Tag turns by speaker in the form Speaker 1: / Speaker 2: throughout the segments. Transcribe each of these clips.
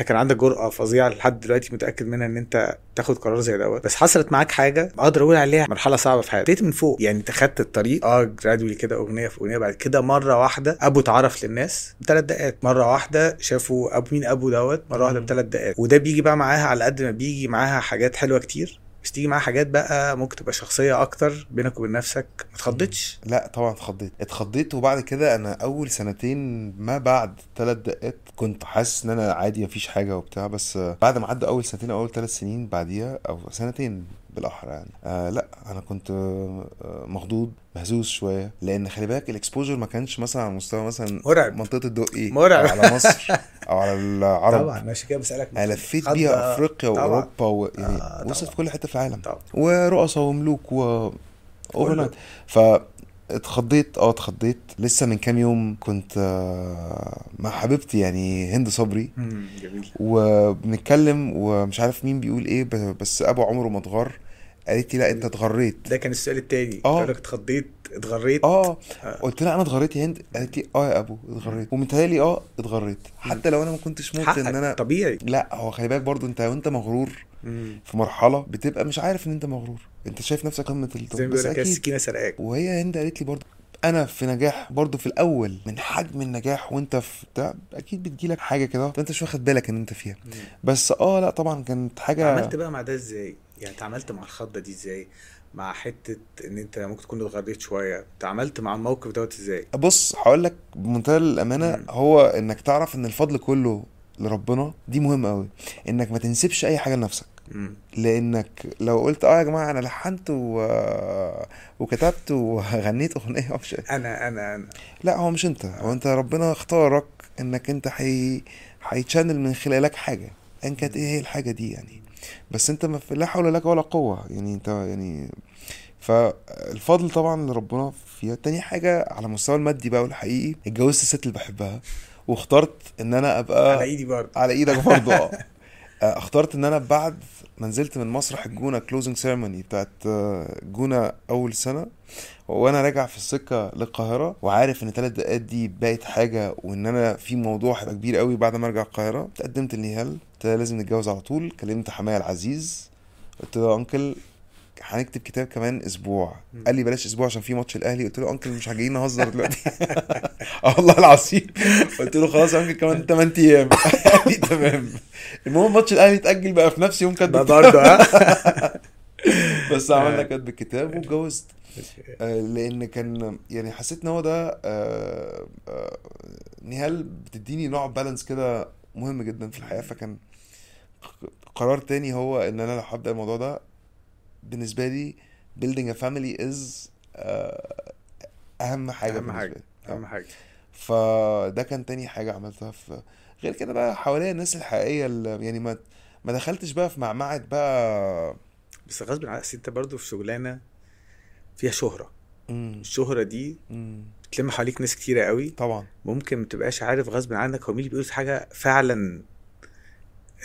Speaker 1: انت كان عندك جرأة فظيعة لحد دلوقتي متأكد منها ان انت تاخد قرار زي دوت بس حصلت معاك حاجة اقدر اقول عليها مرحلة صعبة في حياتك ابتديت من فوق يعني انت خدت الطريق اه جرادولي كده اغنية في اغنية بعد كده مرة واحدة ابو اتعرف للناس بثلاث دقائق مرة واحدة شافوا ابو مين ابو دوت مرة واحدة
Speaker 2: مم.
Speaker 1: بثلاث دقائق وده بيجي بقى معاها على قد ما بيجي معاها حاجات حلوة كتير بس تيجي معاها حاجات بقى ممكن تبقى شخصية اكتر بينك وبين نفسك ما اتخضتش
Speaker 2: لا طبعا اتخضيت اتخضيت وبعد كده انا اول سنتين ما بعد ثلاث دقات كنت حاسس ان انا عادي مفيش حاجه وبتاع بس آه، بعد ما عدى اول سنتين او اول ثلاث سنين بعديها او سنتين بالاحرى يعني آه لا انا كنت آه آه، مخضوض مهزوز شويه لان خلي بالك الاكسبوجر ما كانش مثلا على مستوى مثلا
Speaker 1: مرعب
Speaker 2: منطقه الدقي او
Speaker 1: مرعب
Speaker 2: إيه؟ على مصر او على العرب
Speaker 1: طبعا عشان كده بسألك
Speaker 2: انا
Speaker 1: ممكن
Speaker 2: لفيت
Speaker 1: اتخض
Speaker 2: بيها
Speaker 1: آه،
Speaker 2: افريقيا
Speaker 1: طبعا
Speaker 2: واوروبا و... يعني
Speaker 1: اه
Speaker 2: وصلت في
Speaker 1: طبعا
Speaker 2: كل حته في العالم
Speaker 1: طبعا
Speaker 2: ورؤساء وملوك و اوفرلاند
Speaker 1: كله
Speaker 2: ف اتخضيت اه اتخضيت لسه من كام يوم كنت آه، مع حبيبتي يعني هند صبري
Speaker 1: امم جميل
Speaker 2: وبنتكلم ومش عارف مين بيقول ايه ب- بس ابو عمره ما اتغر قالت لي لا انت
Speaker 1: جميل
Speaker 2: اتغريت
Speaker 1: ده كان السؤال التاني كنت اقول
Speaker 2: اه
Speaker 1: لك اتخضيت اتغريت
Speaker 2: اه
Speaker 1: آه.
Speaker 2: قلت لها انا اتغريت يا هند
Speaker 1: مم.
Speaker 2: قالت لي اه يا ابو
Speaker 1: مم.
Speaker 2: اتغريت ومتهيألي اه اتغريت
Speaker 1: مم.
Speaker 2: حتى لو انا ما كنتش مت ان
Speaker 1: حقك
Speaker 2: انا
Speaker 1: طبيعي
Speaker 2: لا هو خلي بالك برضو انت وانت مغرور
Speaker 1: مم.
Speaker 2: في مرحله بتبقى مش عارف ان انت مغرور انت شايف نفسك قمه
Speaker 1: زي
Speaker 2: التوب
Speaker 1: ما
Speaker 2: بس
Speaker 1: بيقول لك
Speaker 2: اكيد
Speaker 1: السكينه سرقاك
Speaker 2: وهي هند قالت لي برضو انا في نجاح برضو في الاول من حجم النجاح وانت في بتاع اكيد بتجيلك حاجه كده فانت مش واخد بالك ان انت فيها
Speaker 1: مم.
Speaker 2: بس اه لا طبعا كانت حاجه
Speaker 1: تعاملت بقى مع ده ازاي يعني تعاملت مع الخضه دي ازاي مع حته ان انت ممكن تكون اتغريت شويه تعاملت مع الموقف دوت ازاي
Speaker 2: بص هقول لك بمنتهى الامانه
Speaker 1: مم.
Speaker 2: هو انك تعرف ان الفضل كله لربنا دي مهمه قوي انك ما تنسبش اي حاجه لنفسك
Speaker 1: مم.
Speaker 2: لانك لو قلت اه يا جماعه انا لحنت و... وكتبت وغنيت اغنيه مش
Speaker 1: انا انا انا
Speaker 2: لا هو مش انت هو
Speaker 1: آه.
Speaker 2: انت ربنا اختارك انك انت حي هيتشانل من خلالك حاجه ان كانت ايه
Speaker 1: مم.
Speaker 2: هي الحاجه دي يعني بس انت ما في لا حول لك ولا قوه يعني انت يعني فالفضل طبعا لربنا فيها تاني حاجه على المستوى المادي بقى والحقيقي اتجوزت الست اللي بحبها واخترت ان انا
Speaker 1: على
Speaker 2: ابقى
Speaker 1: ايدي برضه
Speaker 2: على ايدك برضه اه آه، اخترت ان انا بعد ما نزلت من مسرح الجونه كلوزنج سيرموني بتاعت آه، الجونه اول سنه وانا راجع في السكه للقاهره وعارف ان ثلاث دقائق دي بقت حاجه وان انا في موضوع هيبقى كبير قوي بعد ما ارجع القاهره تقدمت لنيهال قلت لها لازم نتجوز على طول كلمت حماية العزيز قلت له يا انكل هنكتب كتاب كمان اسبوع قال
Speaker 1: مم.
Speaker 2: لي بلاش اسبوع عشان في ماتش الاهلي قلت له انكل مش جايين نهزر دلوقتي اه والله العظيم قلت له خلاص يا انكل كمان 8 ايام قال لي تمام المهم ماتش الاهلي اتاجل بقى في نفس يوم كاتب
Speaker 1: ده
Speaker 2: الكتاب
Speaker 1: برضه ها
Speaker 2: بس عملنا
Speaker 1: آه.
Speaker 2: كاتب الكتاب واتجوزت آه، لان كان يعني حسيت ان هو ده آه، آه، نهال بتديني نوع بالانس كده مهم جدا في الحياه فكان قرار تاني هو ان انا لو هبدا الموضوع ده بالنسبه لي building a family is آه، اهم حاجه
Speaker 1: اهم
Speaker 2: بالنسبه
Speaker 1: حاجه
Speaker 2: لي اه
Speaker 1: اهم حاجه
Speaker 2: فده كان تاني حاجه عملتها في غير كده بقى حواليا الناس الحقيقيه اللي يعني ما ما دخلتش بقى في معمعة بقى
Speaker 1: بس غصب عنك أصل انت برضه في شغلانه فيها شهره
Speaker 2: امم
Speaker 1: الشهره دي
Speaker 2: امم
Speaker 1: بتلم حواليك ناس كتيره قوي
Speaker 2: طبعا
Speaker 1: ممكن ما تبقاش عارف غصب عنك هو مين اللي بيقول حاجه فعلا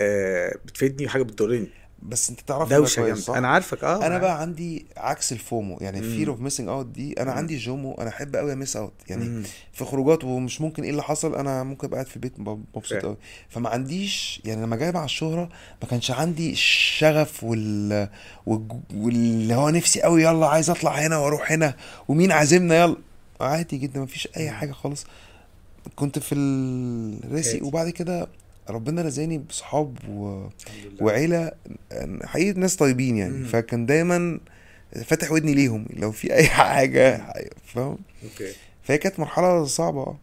Speaker 1: آه بتفيدني وحاجه بتضرني
Speaker 2: بس انت تعرف ان ده
Speaker 1: دوشه
Speaker 2: كويس
Speaker 1: جامده
Speaker 2: صح
Speaker 1: انا عارفك اه ما
Speaker 2: انا
Speaker 1: انا عارف
Speaker 2: بقى عندي عكس الفومو يعني fear
Speaker 1: امم
Speaker 2: of missing out دي انا
Speaker 1: امم
Speaker 2: عندي جومو انا احب قوي امس اوت يعني
Speaker 1: امم
Speaker 2: في خروجات ومش ممكن ايه اللي حصل انا ممكن ابقى قاعد في البيت مب- مبسوط
Speaker 1: فاهم
Speaker 2: قوي فما عنديش يعني لما جاي مع الشهرة ما كانش عندي الشغف وال والج- واللي هو نفسي قوي يلا عايز اطلع هنا واروح هنا ومين عازمنا يلا عادي جدا مفيش اي
Speaker 1: امم
Speaker 2: حاجة خالص كنت في الراسي
Speaker 1: هادي
Speaker 2: وبعد كده ربنا رزقني بصحاب و...
Speaker 1: الحمد لله
Speaker 2: وعيلة حقيقة ناس طيبين يعني
Speaker 1: امم
Speaker 2: فكان دايما فاتح ودني ليهم لو في أي حاجة
Speaker 1: امم
Speaker 2: فاهم
Speaker 1: اوكي
Speaker 2: فهي كانت مرحلة صعبة